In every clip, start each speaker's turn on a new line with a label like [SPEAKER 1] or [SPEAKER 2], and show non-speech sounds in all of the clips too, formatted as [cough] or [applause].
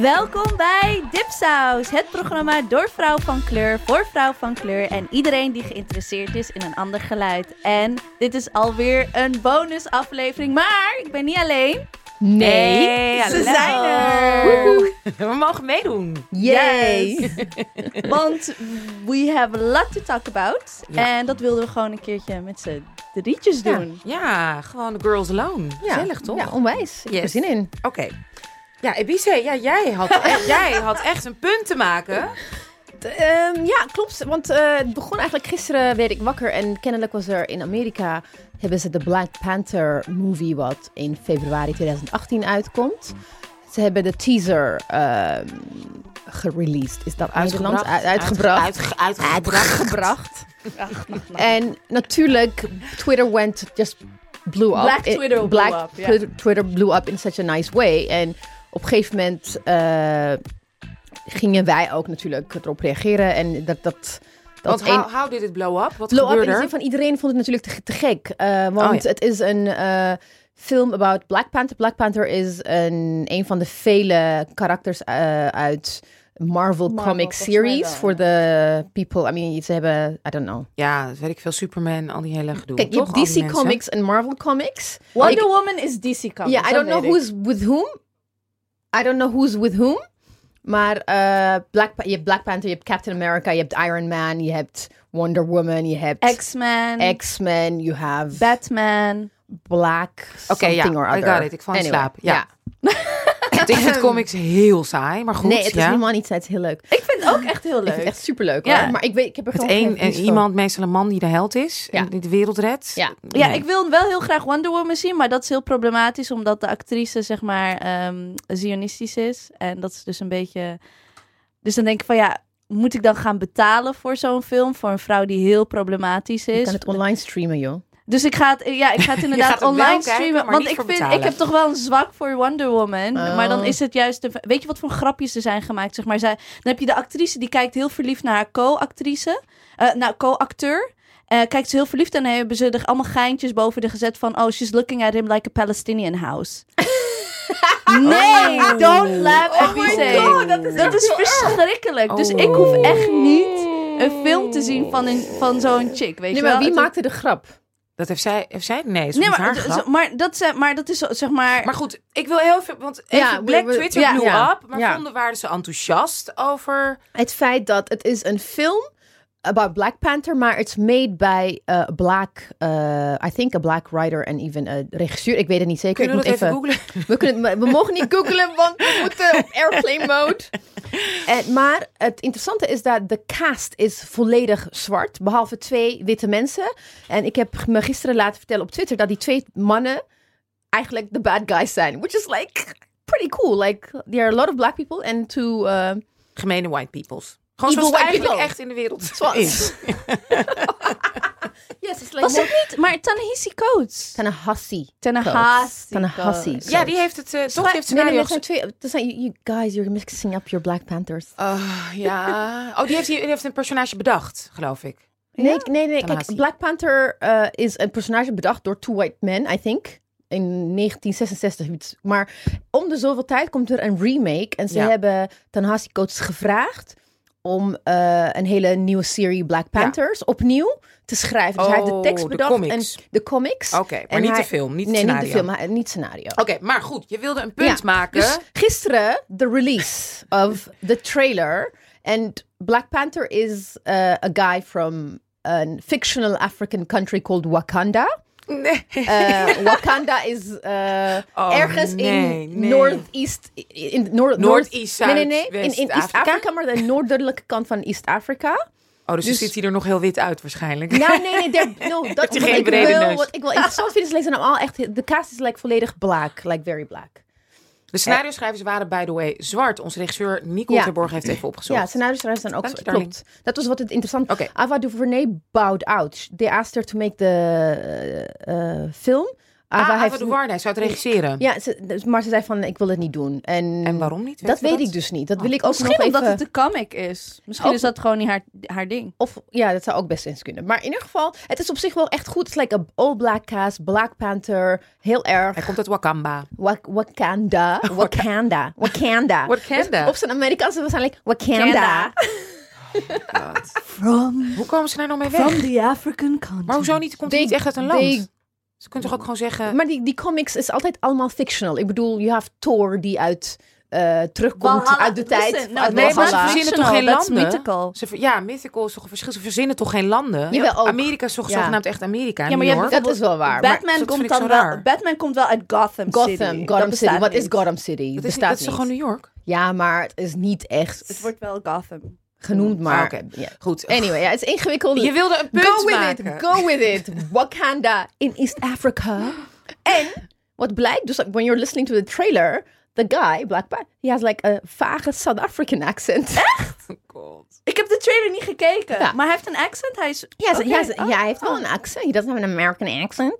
[SPEAKER 1] Welkom bij Dipsaus, het programma door vrouw van kleur, voor vrouw van kleur en iedereen die geïnteresseerd is in een ander geluid. En dit is alweer een bonusaflevering, maar ik ben niet alleen.
[SPEAKER 2] Nee,
[SPEAKER 3] Hey,
[SPEAKER 2] ze
[SPEAKER 3] hallo.
[SPEAKER 2] zijn er.
[SPEAKER 3] Woehoe. [laughs] We mogen meedoen.
[SPEAKER 2] Yay.
[SPEAKER 1] [laughs] Want we have a lot to talk about.
[SPEAKER 3] Ja.
[SPEAKER 1] En dat wilden we gewoon een keertje met z'n drietjes doen.
[SPEAKER 3] Ja, gewoon de girls alone. Gezellig, toch?
[SPEAKER 2] Ja, onwijs. Ik heb er
[SPEAKER 3] Yes.
[SPEAKER 2] zin in.
[SPEAKER 3] Oké. Ja, Ebice, ja, jij,
[SPEAKER 2] [laughs]
[SPEAKER 3] had echt, jij had echt een punt te maken.
[SPEAKER 2] T- ehm, ja, klopt. Want eh, het begon eigenlijk gisteren, werd ik wakker. En kennelijk was er in Amerika, hebben ze de Black Panther movie, wat in februari 2018 uitkomt. Ze hebben de teaser ehm gereleased. Is dat Nederlands? Uit- Uitgebracht.
[SPEAKER 3] Uitge- uitgebracht.
[SPEAKER 2] Uitgebracht. En natuurlijk, Twitter went just blew up.
[SPEAKER 1] Black
[SPEAKER 2] It-
[SPEAKER 1] Twitter blew
[SPEAKER 2] Black
[SPEAKER 1] up, ja.
[SPEAKER 2] Twi- Twitter blew up in such a nice way. En op een gegeven moment eh, gingen wij ook natuurlijk erop reageren. En dat dat dat
[SPEAKER 3] Want hou, hou dit het blow-up? Wat
[SPEAKER 2] blow up in
[SPEAKER 3] gebeurde
[SPEAKER 2] de
[SPEAKER 3] er?
[SPEAKER 2] zin van iedereen vond het natuurlijk te, te gek, Eh, want
[SPEAKER 3] Oh, ja.
[SPEAKER 2] het is een eh, film about Black Panther. Black Panther is een een van de vele karakters eh, uit
[SPEAKER 1] Marvel,
[SPEAKER 2] Marvel, comic
[SPEAKER 1] volgens mij
[SPEAKER 2] series
[SPEAKER 1] wel,
[SPEAKER 2] voor
[SPEAKER 1] ja.
[SPEAKER 2] de people. I mean, ze hebben, I don't know.
[SPEAKER 3] Ja, dat weet ik veel. Superman, al die hele gedoe.
[SPEAKER 2] Kijk, je
[SPEAKER 3] toch?
[SPEAKER 2] hebt
[SPEAKER 3] Al die
[SPEAKER 2] DC
[SPEAKER 3] mensen.
[SPEAKER 2] Comics en Marvel Comics.
[SPEAKER 1] Wonder
[SPEAKER 2] Ik-
[SPEAKER 1] Woman is DC Comics.
[SPEAKER 2] Ja, I
[SPEAKER 1] dat
[SPEAKER 2] don't know
[SPEAKER 1] weet ik.
[SPEAKER 2] who's with whom. I don't know who's with whom. Maar eh, Black, Pa- je hebt Black Panther, je hebt Captain America, je hebt Iron Man, je hebt Wonder Woman, je hebt
[SPEAKER 1] X-Men,
[SPEAKER 2] X-Men, you have
[SPEAKER 1] Batman.
[SPEAKER 2] Black
[SPEAKER 3] Oké,
[SPEAKER 2] something
[SPEAKER 3] ja,
[SPEAKER 2] or
[SPEAKER 3] I
[SPEAKER 2] other.
[SPEAKER 3] got it. Ik val in slaap. Ja. [laughs] Ik vind comics heel saai, maar goed.
[SPEAKER 2] nee, het is
[SPEAKER 3] ja.
[SPEAKER 2] helemaal niet saai. Het is heel leuk.
[SPEAKER 1] Ik vind het ook echt heel
[SPEAKER 2] Ik vind
[SPEAKER 1] leuk.
[SPEAKER 2] het echt superleuk.
[SPEAKER 1] Ja.
[SPEAKER 2] hoor. Maar ik, weet, ik heb er
[SPEAKER 3] Het
[SPEAKER 2] gewoon
[SPEAKER 3] een,
[SPEAKER 2] geen
[SPEAKER 3] en
[SPEAKER 2] vlies van.
[SPEAKER 3] iemand, meestal een man die de held is
[SPEAKER 2] Ja.
[SPEAKER 3] en die de wereld redt.
[SPEAKER 2] Ja.
[SPEAKER 1] Ja, ik wil wel heel graag Wonder Woman zien, maar dat is heel problematisch omdat de actrice zeg maar ehm, zionistisch is en dat is dus een beetje. Dus dan denk ik van ja, moet ik dan gaan betalen voor zo'n film voor een vrouw die heel problematisch
[SPEAKER 2] Je
[SPEAKER 1] is?
[SPEAKER 2] kan het online streamen, joh.
[SPEAKER 1] Dus ik ga het, ja, ik ga
[SPEAKER 3] [laughs]
[SPEAKER 1] het inderdaad
[SPEAKER 3] gaat het wel
[SPEAKER 1] online
[SPEAKER 3] kijken,
[SPEAKER 1] streamen.
[SPEAKER 3] maar
[SPEAKER 1] want
[SPEAKER 3] niet
[SPEAKER 1] ik
[SPEAKER 3] voor
[SPEAKER 1] vind, ik
[SPEAKER 3] betalen.
[SPEAKER 1] heb toch wel een zwak voor Wonder Woman.
[SPEAKER 2] Oh.
[SPEAKER 1] Maar dan is het juist. De, weet je wat voor grapjes er zijn gemaakt? Zeg maar, zij, dan heb je de actrice die kijkt heel verliefd naar haar co-actrice. eh nou, co-acteur. Eh, kijkt ze heel verliefd en dan hebben ze er allemaal geintjes boven de gezet van. Oh, she's looking at him like a Palestinian
[SPEAKER 3] [laughs]
[SPEAKER 1] house. nee,
[SPEAKER 3] Oh.
[SPEAKER 1] don't laugh at
[SPEAKER 3] Oh
[SPEAKER 1] me
[SPEAKER 3] my
[SPEAKER 1] say.
[SPEAKER 3] God, dat is
[SPEAKER 1] Dat
[SPEAKER 3] echt Oh.
[SPEAKER 1] is verschrikkelijk. Dus ik hoef echt niet een film te zien van, een- van zo'n chick. Weet
[SPEAKER 2] Nee,
[SPEAKER 1] je wel?
[SPEAKER 2] maar wie
[SPEAKER 1] Het-
[SPEAKER 2] maakte de grap?
[SPEAKER 3] Dat heeft zij, heeft zij? Nee, is
[SPEAKER 1] Nee,
[SPEAKER 3] met haar
[SPEAKER 1] maar,
[SPEAKER 3] grap.
[SPEAKER 1] zo- maar, dat, zijn- maar dat is zo- zeg maar.
[SPEAKER 3] Maar goed, ik wil heel veel. Want even
[SPEAKER 2] Ja, we-
[SPEAKER 3] Black
[SPEAKER 2] we-
[SPEAKER 3] Twitter
[SPEAKER 2] ja,
[SPEAKER 3] blew
[SPEAKER 2] ja,
[SPEAKER 3] up. Maar
[SPEAKER 2] ja.
[SPEAKER 3] vonden waren ze enthousiast over.
[SPEAKER 2] Het feit dat het is een film about Black Panther, maar it's made by a black, eh, I think a black writer en even een regisseur. Ik weet het niet zeker.
[SPEAKER 3] Kunnen we
[SPEAKER 2] Ik
[SPEAKER 3] dat
[SPEAKER 2] moet
[SPEAKER 3] even googlen?
[SPEAKER 2] We, kunnen, we mogen niet googlen, want we moeten op airplane mode. En, maar het interessante is dat de cast is volledig zwart. Behalve twee witte mensen. En ik heb me gisteren laten vertellen op Twitter dat die twee mannen eigenlijk de bad guys zijn. Which is like pretty cool. Like, there are a lot of black people and two... eh,
[SPEAKER 3] Gemene white peoples. Gewoon
[SPEAKER 2] Evil
[SPEAKER 3] zoals het
[SPEAKER 2] white
[SPEAKER 3] eigenlijk
[SPEAKER 2] people.
[SPEAKER 3] echt in de wereld
[SPEAKER 2] Zwart.
[SPEAKER 3] is.
[SPEAKER 2] yes, it's like
[SPEAKER 1] was
[SPEAKER 2] more...
[SPEAKER 1] het niet? Maar Tanahisi Coates.
[SPEAKER 2] Tanahasi.
[SPEAKER 1] Tanahasi.
[SPEAKER 2] Tanahasi.
[SPEAKER 1] Coates.
[SPEAKER 3] Ja, die heeft het. eh, toch die heeft
[SPEAKER 2] Nee, nee,
[SPEAKER 3] scenario
[SPEAKER 2] dat zijn twee... dat zijn- you guys, you're mixing up your Black Panthers.
[SPEAKER 3] Oh, ja. Oh, die heeft, die heeft een personage bedacht, geloof ik.
[SPEAKER 2] Nee, nee, nee.
[SPEAKER 3] Tanahasi.
[SPEAKER 2] Kijk, Black Panther eh, is een personage bedacht door Two White Men, I think. In 1966. iets. Maar om de zoveel tijd komt er een remake. En ze
[SPEAKER 3] Ja.
[SPEAKER 2] hebben Tanahasi Coates gevraagd om eh, een hele nieuwe serie Black Panthers opnieuw te schrijven. Dus hij heeft de
[SPEAKER 3] Oh,
[SPEAKER 2] tekst
[SPEAKER 3] de
[SPEAKER 2] bedacht
[SPEAKER 3] comics.
[SPEAKER 2] en de comics.
[SPEAKER 3] Oké, maar
[SPEAKER 2] En
[SPEAKER 3] niet
[SPEAKER 2] hij-
[SPEAKER 3] de film, niet het
[SPEAKER 2] nee,
[SPEAKER 3] scenario.
[SPEAKER 2] niet de film, maar- niet scenario.
[SPEAKER 3] Oké, maar goed, je wilde een punt
[SPEAKER 2] Ja,
[SPEAKER 3] maken.
[SPEAKER 2] Dus gisteren de release of the trailer. And Black Panther is uh, a guy from a fictional African country called Wakanda.
[SPEAKER 3] nee. [laughs]
[SPEAKER 2] Uh, Wakanda is uh,
[SPEAKER 3] Oh,
[SPEAKER 2] ergens
[SPEAKER 3] nee,
[SPEAKER 2] in
[SPEAKER 3] nee.
[SPEAKER 2] Northeast. In noord,
[SPEAKER 3] Noordeast,
[SPEAKER 2] Nee, nee, nee. In,
[SPEAKER 3] Zuid,
[SPEAKER 2] in
[SPEAKER 3] West-Afrika.
[SPEAKER 2] East-Afrika, maar de noordelijke kant
[SPEAKER 3] [laughs]
[SPEAKER 2] van East-Afrika.
[SPEAKER 3] Oh, dus,
[SPEAKER 2] dus-
[SPEAKER 3] ziet hij er nog heel wit uit waarschijnlijk.
[SPEAKER 2] Nou, nee, nee. daar- No, dat
[SPEAKER 3] je
[SPEAKER 2] wat
[SPEAKER 3] geen
[SPEAKER 2] ik
[SPEAKER 3] brede
[SPEAKER 2] wil,
[SPEAKER 3] neus.
[SPEAKER 2] Wat ik wel interessant vind is, lezen allemaal echt... De cast is like volledig black. Like very black.
[SPEAKER 3] [laughs] De scenario-schrijvers waren, by the way, zwart. Onze regisseur Nico
[SPEAKER 2] Ja.
[SPEAKER 3] Terborg heeft even opgezocht.
[SPEAKER 2] Ja, scenario's zijn ook
[SPEAKER 3] Dank je,
[SPEAKER 2] zo-
[SPEAKER 3] darling.
[SPEAKER 2] klopt. Dat was wat het interessant.
[SPEAKER 3] Oké.
[SPEAKER 2] Ava DuVernay bowed out. They asked her to make the eh, eh, film
[SPEAKER 3] Ah,
[SPEAKER 2] Ava heeft-
[SPEAKER 3] Ava hij zou het regisseren.
[SPEAKER 2] ja, ze- dus- maar ze zei van, ik wil het niet doen. En,
[SPEAKER 3] En waarom niet?
[SPEAKER 2] Mm. Dat
[SPEAKER 3] je
[SPEAKER 2] weet ik dus niet. Dat wil ik ook
[SPEAKER 1] Misschien
[SPEAKER 2] nog
[SPEAKER 1] omdat
[SPEAKER 2] even...
[SPEAKER 1] het een comic is. Misschien
[SPEAKER 2] Ook-
[SPEAKER 1] is dat gewoon niet haar, haar ding.
[SPEAKER 2] Of ja, dat zou ook best eens kunnen. Maar in ieder geval, het is op zich wel echt goed. Het is like een all black cast, Black Panther, heel erg.
[SPEAKER 3] Hij komt uit Wakamba.
[SPEAKER 2] Wak- Wakanda, Wakanda, Wakanda.
[SPEAKER 3] Wakanda.
[SPEAKER 2] Dus op zijn Amerikaanse was eigenlijk Wakanda.
[SPEAKER 1] Wakanda.
[SPEAKER 2] Ah.
[SPEAKER 1] From,
[SPEAKER 3] Hoe komen ze daar nou mee weg?
[SPEAKER 1] the African continent.
[SPEAKER 3] Maar hoezo niet? Komt hij
[SPEAKER 2] They-
[SPEAKER 3] niet echt uit een land?
[SPEAKER 2] they-
[SPEAKER 3] Ze kunnen toch ook gewoon zeggen...
[SPEAKER 2] Maar die, die comics is altijd allemaal fictional. Ik bedoel, je hebt Thor die uit eh, terugkomt
[SPEAKER 1] Valhalla.
[SPEAKER 2] uit de tijd.
[SPEAKER 1] Listen, no,
[SPEAKER 2] uit
[SPEAKER 3] Nou, nee, maar ze
[SPEAKER 2] Valhalla.
[SPEAKER 3] verzinnen toch geen
[SPEAKER 1] That's
[SPEAKER 3] landen?
[SPEAKER 1] mythical.
[SPEAKER 3] Ze ver- ja, mythical is toch een verschil. Ze verzinnen toch geen landen?
[SPEAKER 2] Jawel, ook.
[SPEAKER 3] Amerika is toch
[SPEAKER 2] Ja.
[SPEAKER 3] zogenaamd echt Amerika.
[SPEAKER 1] Ja, maar
[SPEAKER 3] niet,
[SPEAKER 1] je
[SPEAKER 3] hoor.
[SPEAKER 1] hebt-
[SPEAKER 2] Dat is wel waar. maar
[SPEAKER 1] Batman,
[SPEAKER 3] dat
[SPEAKER 1] komt
[SPEAKER 3] vind ik
[SPEAKER 1] dan
[SPEAKER 3] zo
[SPEAKER 1] wel,
[SPEAKER 3] raar.
[SPEAKER 1] Batman komt wel uit Gotham,
[SPEAKER 2] Gotham,
[SPEAKER 1] City.
[SPEAKER 2] Gotham
[SPEAKER 1] Dat
[SPEAKER 2] City.
[SPEAKER 1] bestaat
[SPEAKER 2] Wat is
[SPEAKER 1] niet.
[SPEAKER 2] Gotham City?
[SPEAKER 3] Dat is, niet-
[SPEAKER 2] bestaat
[SPEAKER 3] dat is toch gewoon New York?
[SPEAKER 2] Ja, maar het is niet echt
[SPEAKER 1] Het wordt wel Gotham.
[SPEAKER 2] genoemd, maar...
[SPEAKER 3] Ah, oké.
[SPEAKER 2] ja.
[SPEAKER 3] Goed.
[SPEAKER 2] Anyway, ja, het is ingewikkeld.
[SPEAKER 3] Je wilde een punt
[SPEAKER 2] Go with
[SPEAKER 3] maken.
[SPEAKER 2] it, go with it. Wakanda in East
[SPEAKER 3] [gasps]
[SPEAKER 2] Africa. En wat blijkt, dus like, when you're listening to the trailer, the guy, Black Panther, he has like a vage South African accent.
[SPEAKER 3] God.
[SPEAKER 1] Ik heb de trailer niet gekeken.
[SPEAKER 2] Ja.
[SPEAKER 1] Maar hij heeft een accent. Hij is...
[SPEAKER 2] Ja, ze-
[SPEAKER 1] Oké,
[SPEAKER 2] ja, ze-
[SPEAKER 1] oh.
[SPEAKER 2] ja, hij heeft wel een accent. He doesn't have an American accent.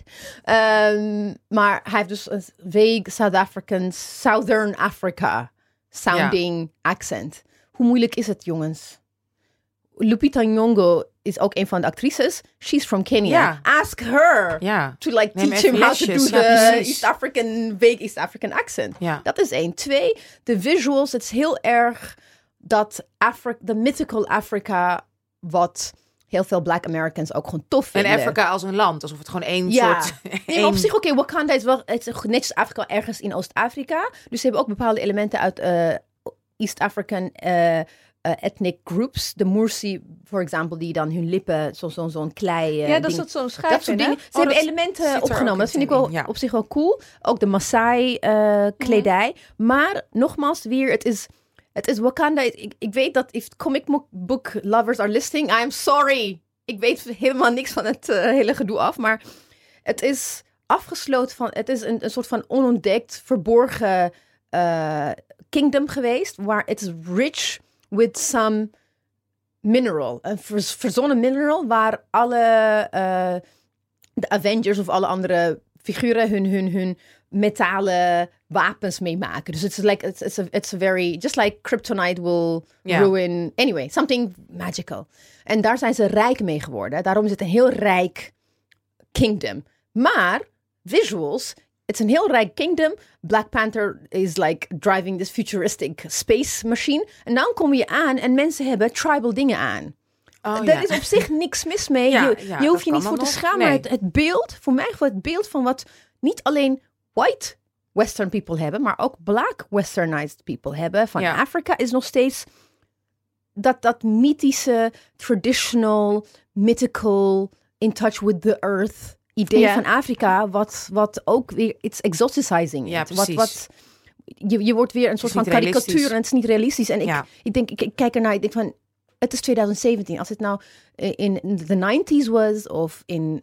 [SPEAKER 2] Ehm, maar hij heeft dus een vague South African, Southern Africa sounding accent. Hoe moeilijk is het, jongens? Lupita Nyong'o is ook een van de actrices. She's from Kenya.
[SPEAKER 3] Ja.
[SPEAKER 2] Ask her
[SPEAKER 3] Ja.
[SPEAKER 2] to like
[SPEAKER 3] Neem
[SPEAKER 2] teach
[SPEAKER 3] even
[SPEAKER 2] him how to do
[SPEAKER 3] lesjes.
[SPEAKER 2] the
[SPEAKER 3] Ja, precies.
[SPEAKER 2] East African, vague East African accent.
[SPEAKER 3] Ja.
[SPEAKER 2] Dat is één. Twee, de visuals, het is heel erg dat Afri- de mythical Africa, wat heel veel Black Americans ook gewoon tof
[SPEAKER 3] En
[SPEAKER 2] vinden.
[SPEAKER 3] Afrika als een land. Alsof het gewoon één
[SPEAKER 2] Ja,
[SPEAKER 3] soort...
[SPEAKER 2] nee, maar op zich, oké, Wakanda is wel het is netjes Afrika ergens in Oost-Afrika. Dus ze hebben ook bepaalde elementen uit eh, East African eh, eh, ethnic groups. De Mursi, voor example, die dan hun lippen, zo'n zo, zo'n klei eh,
[SPEAKER 1] Ja, dat is
[SPEAKER 2] ding-
[SPEAKER 1] dat zo'n schijf.
[SPEAKER 2] dat soort dingen.
[SPEAKER 1] Oh,
[SPEAKER 2] Ze hebben
[SPEAKER 3] Oh,
[SPEAKER 2] elementen
[SPEAKER 3] zit er ook
[SPEAKER 2] opgenomen.
[SPEAKER 3] in
[SPEAKER 2] Dat vind ik
[SPEAKER 3] te
[SPEAKER 2] wel
[SPEAKER 3] zien, ja.
[SPEAKER 2] op zich wel cool. Ook de Maasai eh, kledij. Maar nogmaals, weer, het is, het is Wakanda. Ik, ik weet dat if comic mo- book lovers are listening, I'm sorry. Ik weet helemaal niks van het eh, hele gedoe af. Maar het is afgesloten van. Het is een, een soort van onontdekt, verborgen eh, kingdom geweest. Waar het is rich with some mineral. Een verz- verzonnen mineral waar alle eh, de Avengers of alle andere figuren hun, hun, hun metalen wapens mee maken. Dus it's like it's, it's, a, it's a very just like kryptonite will
[SPEAKER 3] Ja.
[SPEAKER 2] ruin anyway something magical. En daar zijn ze rijk mee geworden. Daarom is het een heel rijk kingdom. Maar visuals, het is een heel rijk kingdom. Black Panther is like driving this futuristic space machine. En dan kom je aan en mensen hebben tribal dingen aan.
[SPEAKER 3] Oh,
[SPEAKER 2] Daar
[SPEAKER 3] ja.
[SPEAKER 2] is op zich niks mis mee.
[SPEAKER 3] Ja,
[SPEAKER 2] je
[SPEAKER 3] ja,
[SPEAKER 2] je
[SPEAKER 3] dat
[SPEAKER 2] hoeft je
[SPEAKER 3] kan dan
[SPEAKER 2] niet voor te
[SPEAKER 3] nog.
[SPEAKER 2] schamen.
[SPEAKER 3] Nee.
[SPEAKER 2] Maar het, het beeld, voor mij voor het beeld van wat niet alleen white western people hebben, maar ook black westernized people hebben van
[SPEAKER 3] Ja.
[SPEAKER 2] Afrika, is nog steeds dat, dat mythische, traditional, mythical, in touch with the earth idee
[SPEAKER 1] Ja.
[SPEAKER 2] van Afrika, wat, wat ook weer, it's exoticizing.
[SPEAKER 3] Ja,
[SPEAKER 2] it. wat,
[SPEAKER 3] precies.
[SPEAKER 2] wat, je, je wordt weer een soort
[SPEAKER 3] is
[SPEAKER 2] van
[SPEAKER 3] niet realistisch.
[SPEAKER 2] karikatuur en het is niet realistisch. En ik,
[SPEAKER 3] Ja.
[SPEAKER 2] ik denk, ik, ik kijk ernaar, ik denk van, het is 2017. Als het nou eh, in de 90s was of in,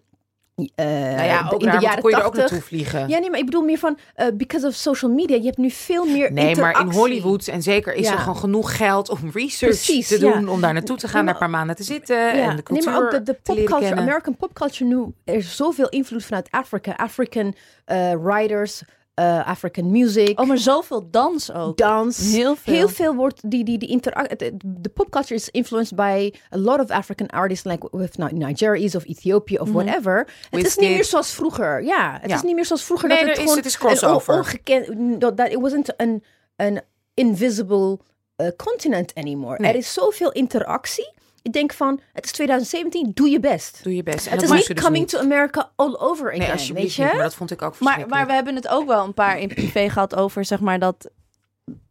[SPEAKER 2] eh,
[SPEAKER 3] Nou ja,
[SPEAKER 2] de-
[SPEAKER 3] ook
[SPEAKER 2] in
[SPEAKER 3] raar, want
[SPEAKER 2] de jaren
[SPEAKER 3] dan kon je er ook
[SPEAKER 2] 80.
[SPEAKER 3] naartoe vliegen.
[SPEAKER 2] Ja, nee, maar ik bedoel meer van, eh, because of social media, je hebt nu veel meer
[SPEAKER 3] Nee, maar in
[SPEAKER 2] interactie.
[SPEAKER 3] Hollywood en zeker is
[SPEAKER 2] Ja.
[SPEAKER 3] er gewoon genoeg geld om research
[SPEAKER 2] Precies,
[SPEAKER 3] te
[SPEAKER 2] ja.
[SPEAKER 3] doen. Om daar naartoe te gaan, daar een paar maanden te zitten. eh, En de
[SPEAKER 2] nee,
[SPEAKER 3] cultuur
[SPEAKER 2] maar ook de, de
[SPEAKER 3] te leren
[SPEAKER 2] popculture,
[SPEAKER 3] kennen.
[SPEAKER 2] American popculture nu, er is zoveel invloed vanuit Afrika. African eh, writers, eh, African music.
[SPEAKER 1] Oh, maar zoveel dans ook.
[SPEAKER 2] dans.
[SPEAKER 1] Heel veel.
[SPEAKER 2] wordt die, die, die interactie. De popculture is influenced by a lot of African artists, like with Ni- Nigerians of Ethiopië of whatever. Het is niet
[SPEAKER 3] Wizkid.
[SPEAKER 2] meer zoals vroeger. Ja, het
[SPEAKER 3] Mhm. Ja.
[SPEAKER 2] is niet meer zoals vroeger.
[SPEAKER 3] Nee,
[SPEAKER 2] dat
[SPEAKER 3] er
[SPEAKER 2] het
[SPEAKER 3] is-
[SPEAKER 2] gewoon
[SPEAKER 3] het is
[SPEAKER 2] een on-
[SPEAKER 3] crossover.
[SPEAKER 2] ongekend. Dat, dat it wasn't an, an invisible eh, continent anymore.
[SPEAKER 3] Nee.
[SPEAKER 2] Er is zoveel interactie. Ik denk van, het is 2017, doe je best.
[SPEAKER 3] Doe je best. En
[SPEAKER 2] het
[SPEAKER 3] dat
[SPEAKER 2] is
[SPEAKER 3] maakt
[SPEAKER 2] niet
[SPEAKER 3] ze dus
[SPEAKER 2] coming
[SPEAKER 3] niet.
[SPEAKER 2] to America all over again,
[SPEAKER 3] Nee,
[SPEAKER 2] weet
[SPEAKER 3] alsjeblieft
[SPEAKER 2] je?
[SPEAKER 3] niet. Maar dat vond ik ook
[SPEAKER 1] Maar,
[SPEAKER 3] verschrikkelijk.
[SPEAKER 1] maar we hebben het ook wel een paar in privé gehad over, zeg maar, dat...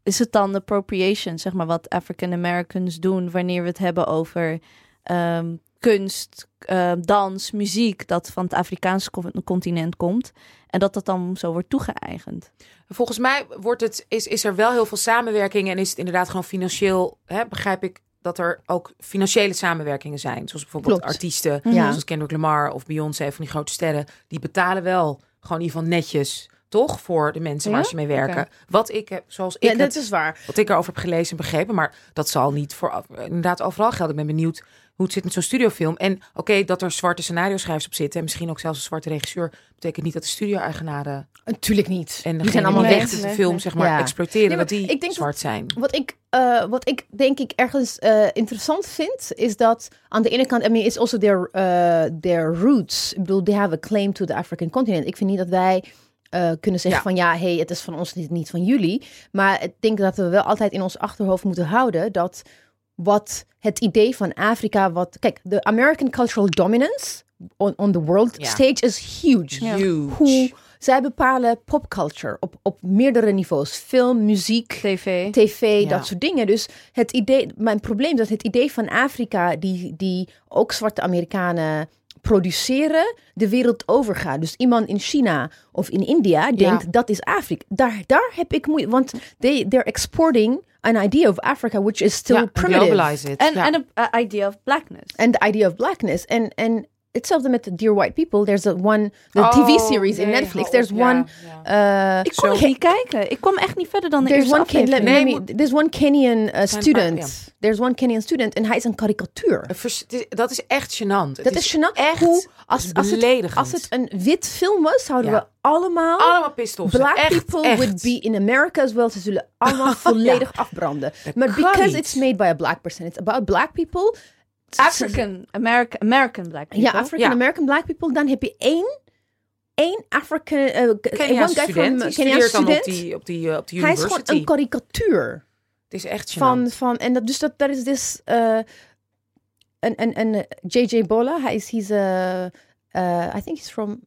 [SPEAKER 1] Is het dan appropriation, zeg maar, wat African Americans doen wanneer we het hebben over ehm, kunst, eh, dans, muziek, dat van het Afrikaanse co- continent komt. En dat dat dan zo wordt toegeëigend.
[SPEAKER 3] Volgens mij wordt het, is, is er wel heel veel samenwerking en is het inderdaad gewoon financieel, hè, begrijp ik, dat er ook financiële samenwerkingen zijn. Zoals bijvoorbeeld
[SPEAKER 2] Klopt. Mhm.
[SPEAKER 3] artiesten,
[SPEAKER 2] Ja.
[SPEAKER 3] zoals Kendrick Lamar of Beyoncé, van die grote sterren, die betalen wel gewoon in ieder geval netjes, toch, voor de mensen waar
[SPEAKER 1] Ja?
[SPEAKER 3] ze mee werken. Wat ik heb, zoals ik
[SPEAKER 2] Ja, dat
[SPEAKER 3] het-
[SPEAKER 2] is waar.
[SPEAKER 3] wat ik erover heb gelezen en begrepen, maar dat zal niet voor eh, inderdaad overal gelden. Ik ben benieuwd hoe het zit met zo'n studiofilm. En oké, dat er zwarte scenario-schrijvers op zitten... en misschien ook zelfs een zwarte regisseur... betekent niet dat de studio-eigenaren
[SPEAKER 2] Natuurlijk niet.
[SPEAKER 3] en
[SPEAKER 2] die zijn
[SPEAKER 3] degene die
[SPEAKER 2] allemaal
[SPEAKER 1] Nee.
[SPEAKER 2] weg.
[SPEAKER 3] echt de
[SPEAKER 1] Nee,
[SPEAKER 3] film
[SPEAKER 1] nee.
[SPEAKER 3] zeg maar,
[SPEAKER 2] Ja.
[SPEAKER 3] exploiteren...
[SPEAKER 2] Nee,
[SPEAKER 3] dat
[SPEAKER 2] maar
[SPEAKER 3] die
[SPEAKER 2] ik denk dat-
[SPEAKER 3] zwart zijn.
[SPEAKER 2] Wat ik, eh, wat ik denk ik ergens eh, interessant vind, is dat aan de ene kant, I mean, it's also their, eh, their roots. Ik bedoel, they have a claim to the African continent. Ik vind niet dat wij eh, kunnen zeggen
[SPEAKER 3] Ja.
[SPEAKER 2] van ja, hey, het is van ons niet, niet van jullie. Maar ik denk dat we wel altijd in ons achterhoofd moeten houden dat wat het idee van Afrika, wat, kijk, de American cultural dominance on, on the world
[SPEAKER 3] Ja.
[SPEAKER 2] stage is huge
[SPEAKER 1] Ja.
[SPEAKER 3] Huge.
[SPEAKER 2] hoe zij bepalen popculture op, op meerdere niveaus. Film, muziek,
[SPEAKER 1] TV.
[SPEAKER 2] tv,
[SPEAKER 3] Ja.
[SPEAKER 2] dat soort dingen. Dus het idee, mijn probleem is dat het idee van Afrika, die, die ook zwarte Amerikanen produceren, de wereld overgaat. Dus iemand in China of in India denkt, dat is Afrika. Daar, daar heb ik moeite, want they, they're exporting an idea of Africa, which is still
[SPEAKER 3] Ja, en
[SPEAKER 2] primitive.
[SPEAKER 3] globalize it.
[SPEAKER 1] En
[SPEAKER 3] ja.
[SPEAKER 1] en een eh, idea of blackness.
[SPEAKER 2] And the idea of blackness. En, en hetzelfde met Dear White People. There's that one, the TV series in
[SPEAKER 3] nee, hou
[SPEAKER 2] Netflix.
[SPEAKER 3] op.
[SPEAKER 2] There's
[SPEAKER 3] Oh, Ja,
[SPEAKER 2] one...
[SPEAKER 3] ja.
[SPEAKER 2] eh,
[SPEAKER 1] Ik kon
[SPEAKER 3] Zo.
[SPEAKER 1] het niet kijken. Ik kwam echt niet verder dan de
[SPEAKER 2] There's
[SPEAKER 1] eerste
[SPEAKER 2] one, Ken- let
[SPEAKER 1] aflevering.
[SPEAKER 2] me-
[SPEAKER 3] Nee,
[SPEAKER 2] let me- there's one Kenyan eh,
[SPEAKER 3] Zijn-
[SPEAKER 2] student.
[SPEAKER 3] ah,
[SPEAKER 2] There's one Kenyan student en hij is een karikatuur.
[SPEAKER 3] Vers- het is- dat is echt gênant. Het
[SPEAKER 2] Dat is gênant.
[SPEAKER 3] Echt
[SPEAKER 2] Hoe, als, als, het,
[SPEAKER 3] beledigend.
[SPEAKER 2] als het een wit film was, zouden
[SPEAKER 3] Ja.
[SPEAKER 2] we allemaal...
[SPEAKER 3] Allemaal pistols.
[SPEAKER 2] Black
[SPEAKER 3] echt,
[SPEAKER 2] people
[SPEAKER 3] echt.
[SPEAKER 2] would be in America as well. Ze
[SPEAKER 3] [laughs]
[SPEAKER 2] zullen allemaal volledig afbranden. Maar
[SPEAKER 3] kan
[SPEAKER 2] because
[SPEAKER 3] niet.
[SPEAKER 2] it's made by a black person, it's about black people.
[SPEAKER 1] African, American, American black people.
[SPEAKER 2] Ja, African American black people. Dan heb je één, één African, eh,
[SPEAKER 3] Keniaanse
[SPEAKER 2] one guy
[SPEAKER 3] student.
[SPEAKER 2] from
[SPEAKER 3] die
[SPEAKER 2] Keniaanse
[SPEAKER 3] studeert dan op
[SPEAKER 2] student.
[SPEAKER 3] die, op die, eh, op die
[SPEAKER 2] hij is gewoon
[SPEAKER 3] university.
[SPEAKER 2] een karikatuur.
[SPEAKER 3] het is echt gênant.
[SPEAKER 2] van, van en dat, dus dat, dat is dus eh, een, een, een eh, JJ Bola, hij is, he's a, eh, I think he's from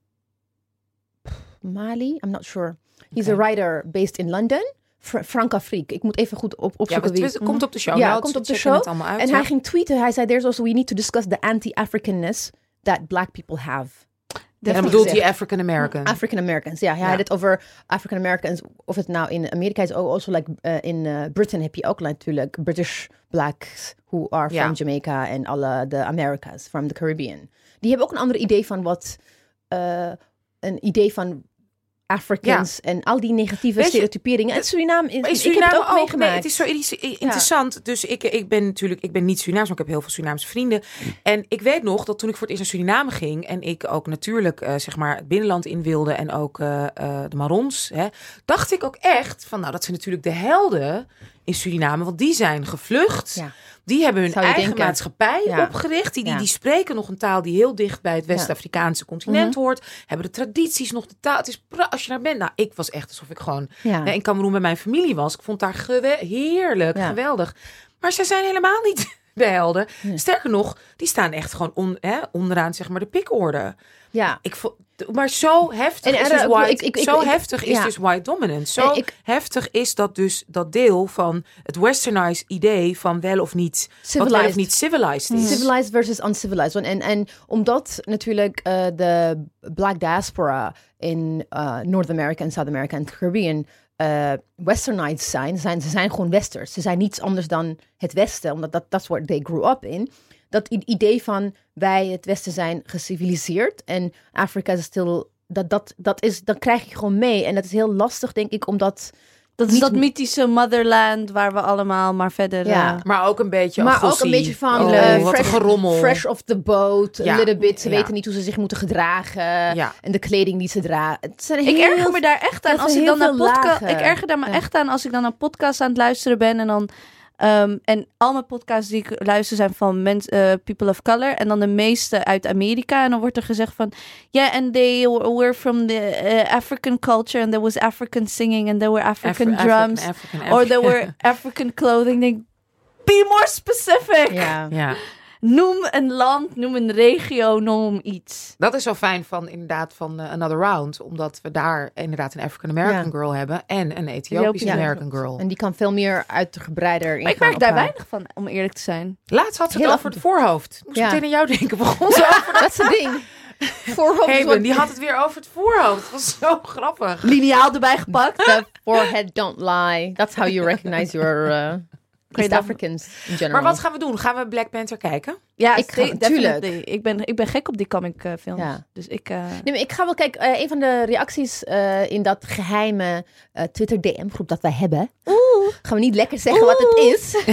[SPEAKER 2] Mali, I'm not sure. He's
[SPEAKER 3] Oké.
[SPEAKER 2] a writer based in London, Fra Frank-Afrique. Ik moet even goed op,
[SPEAKER 3] ja,
[SPEAKER 2] opzoeken
[SPEAKER 3] maar het
[SPEAKER 2] wie.
[SPEAKER 3] komt op de show.
[SPEAKER 2] Ja,
[SPEAKER 3] notes,
[SPEAKER 2] komt op
[SPEAKER 3] we
[SPEAKER 2] de
[SPEAKER 3] checken
[SPEAKER 2] show.
[SPEAKER 3] Het allemaal uit,
[SPEAKER 2] En
[SPEAKER 3] ja.
[SPEAKER 2] hij ging tweeten, hij zei, there's also, we need to discuss the anti-Africanness that black people have. dus
[SPEAKER 3] en
[SPEAKER 1] Dat
[SPEAKER 3] dan
[SPEAKER 1] is
[SPEAKER 3] bedoelt
[SPEAKER 1] gezegd.
[SPEAKER 3] hij African American.
[SPEAKER 2] African Americans, ja. Hij
[SPEAKER 3] Ja.
[SPEAKER 2] had het over African Americans, of het nou in Amerika is, ook also like eh, in eh, Britain heb je ook natuurlijk British blacks who are
[SPEAKER 3] Ja.
[SPEAKER 2] from Jamaica en alle de Americas from the Caribbean. Die hebben ook een ander idee van wat eh, een idee van Africans en al die negatieve
[SPEAKER 3] Weet je, Eh,
[SPEAKER 2] stereotyperingen. En Suriname is,
[SPEAKER 3] Maar in
[SPEAKER 2] ik heb
[SPEAKER 3] Suriname
[SPEAKER 2] het ook, meegemaakt.
[SPEAKER 3] Nee, het is zo i- i- interessant. Dus ik, ik ben natuurlijk, ik ben niet Surinaams, maar ik heb heel veel Surinaamse vrienden. En ik weet nog dat toen ik voor het eerst naar Suriname ging en ik ook natuurlijk eh, zeg maar het binnenland in wilde en ook eh, eh, de Marons, hè, dacht ik ook echt van, nou dat zijn natuurlijk de helden in Suriname, want die zijn gevlucht.
[SPEAKER 2] Ja.
[SPEAKER 3] Die hebben hun
[SPEAKER 2] Zou je
[SPEAKER 3] eigen
[SPEAKER 2] denken.
[SPEAKER 3] maatschappij
[SPEAKER 2] Ja.
[SPEAKER 3] opgericht. Die, die,
[SPEAKER 2] Ja.
[SPEAKER 3] die spreken nog een taal die heel dicht bij het West-Afrikaanse continent
[SPEAKER 2] Mhm.
[SPEAKER 3] hoort. Hebben de tradities nog de taal. Het is pra- als je daar bent. Nou, ik was echt alsof ik gewoon
[SPEAKER 2] Ja.
[SPEAKER 3] Nee, in Cameroen bij mijn familie was. Ik vond daar gewe- heerlijk,
[SPEAKER 2] Ja.
[SPEAKER 3] geweldig. Maar ze zijn helemaal niet [laughs] de helden. Sterker nog, die staan echt gewoon on, hè, onderaan zeg maar de pikorde.
[SPEAKER 2] ja.
[SPEAKER 3] Ik vond, maar zo heftig
[SPEAKER 2] En
[SPEAKER 3] is
[SPEAKER 2] er-
[SPEAKER 3] dus
[SPEAKER 2] ik-
[SPEAKER 3] white,
[SPEAKER 2] ik- ik- ik-
[SPEAKER 3] zo
[SPEAKER 2] ik-
[SPEAKER 3] heftig is
[SPEAKER 2] ja.
[SPEAKER 3] dus white dominance. Zo
[SPEAKER 2] En ik-
[SPEAKER 3] heftig is dat dus dat deel van het westernized idee van wel of niet wat wel of
[SPEAKER 2] Civilized.
[SPEAKER 3] niet civilized is.
[SPEAKER 2] Civilized versus uncivilized. Want En, en omdat natuurlijk eh, de black diaspora in eh, North America en South America en het Caribbean eh, westernized zijn, zijn, ze zijn gewoon westers. Ze zijn niets anders dan het westen, omdat dat that's what they grew up in. Dat i- idee van wij het westen zijn geciviliseerd en Afrika is still... Dat, dat, dat, is, dat krijg je gewoon mee. En dat is heel lastig, denk ik, omdat...
[SPEAKER 1] Dat is dat mythische motherland waar we allemaal maar verder...
[SPEAKER 2] Ja.
[SPEAKER 1] eh,
[SPEAKER 3] Maar ook een beetje
[SPEAKER 2] maar ook
[SPEAKER 3] agressie.
[SPEAKER 2] een beetje van
[SPEAKER 3] Oh,
[SPEAKER 2] eh,
[SPEAKER 3] wat een
[SPEAKER 2] fresh,
[SPEAKER 3] gerommel.
[SPEAKER 2] fresh off the boat,
[SPEAKER 3] Ja.
[SPEAKER 2] a little bit. Ze
[SPEAKER 3] Ja.
[SPEAKER 2] weten niet hoe ze zich moeten gedragen
[SPEAKER 3] Ja.
[SPEAKER 2] en de kleding die ze dragen. Het zijn
[SPEAKER 1] Ik
[SPEAKER 2] heel
[SPEAKER 1] erger me daar echt aan
[SPEAKER 2] dat
[SPEAKER 1] als
[SPEAKER 2] er
[SPEAKER 1] ik dan
[SPEAKER 2] heel
[SPEAKER 1] naar
[SPEAKER 2] veel
[SPEAKER 1] podcast.
[SPEAKER 2] lagen.
[SPEAKER 1] Ik erger daar me
[SPEAKER 2] Ja.
[SPEAKER 1] echt aan als ik dan een podcast aan het luisteren ben en dan. ehm, en al mijn podcasts die ik luister zijn van mens, eh, people of color. En dan de meeste uit Amerika. En dan wordt er gezegd van... Yeah, and they were from the eh, African culture. And there was African singing. And there were African
[SPEAKER 3] Afri-
[SPEAKER 1] drums.
[SPEAKER 3] African,
[SPEAKER 1] Or
[SPEAKER 3] African.
[SPEAKER 1] there
[SPEAKER 2] [laughs]
[SPEAKER 1] were African clothing. Ik Denk, be more specific.
[SPEAKER 2] Ja.
[SPEAKER 3] Ja.
[SPEAKER 1] Noem een land, noem een regio, noem iets.
[SPEAKER 3] Dat is zo fijn van inderdaad van eh, Another Round. Omdat we daar inderdaad een African American
[SPEAKER 2] Ja.
[SPEAKER 3] girl hebben. En een Ethiopisch
[SPEAKER 1] Ethiopisch,
[SPEAKER 2] ja,
[SPEAKER 3] American girl.
[SPEAKER 2] En die kan veel meer uitgebreider in
[SPEAKER 1] Maar ik
[SPEAKER 2] gaan
[SPEAKER 1] merk daar
[SPEAKER 2] op haar.
[SPEAKER 1] weinig van, om eerlijk te zijn.
[SPEAKER 3] Laatst had ze het
[SPEAKER 2] Heel
[SPEAKER 3] over het voorhoofd. Moest
[SPEAKER 2] Ja.
[SPEAKER 3] meteen aan jou denken.
[SPEAKER 2] [laughs]
[SPEAKER 3] Begon ze
[SPEAKER 2] Zo, dat is het ding. Voorhoofd is
[SPEAKER 3] Heben,
[SPEAKER 2] wat-
[SPEAKER 3] Die had het weer over het voorhoofd. Dat was zo grappig.
[SPEAKER 1] Liniaal erbij gepakt.
[SPEAKER 2] The forehead don't lie. That's how you recognize
[SPEAKER 1] [laughs]
[SPEAKER 2] your eh,
[SPEAKER 1] je
[SPEAKER 2] East
[SPEAKER 1] dan-
[SPEAKER 2] Africans in general.
[SPEAKER 3] Maar wat gaan we doen? Gaan we Black Panther kijken?
[SPEAKER 1] Ja,
[SPEAKER 2] Ik
[SPEAKER 1] ik
[SPEAKER 2] ga- tuurlijk.
[SPEAKER 1] Ik ben, ik ben gek op die comic eh, films.
[SPEAKER 2] Ja.
[SPEAKER 1] Dus ik... eh,
[SPEAKER 2] Nee, maar ik ga wel kijken. eh, een van de reacties eh, in dat geheime eh, Twitter DM-groep dat wij hebben. Gaan we niet lekker zeggen wat het is.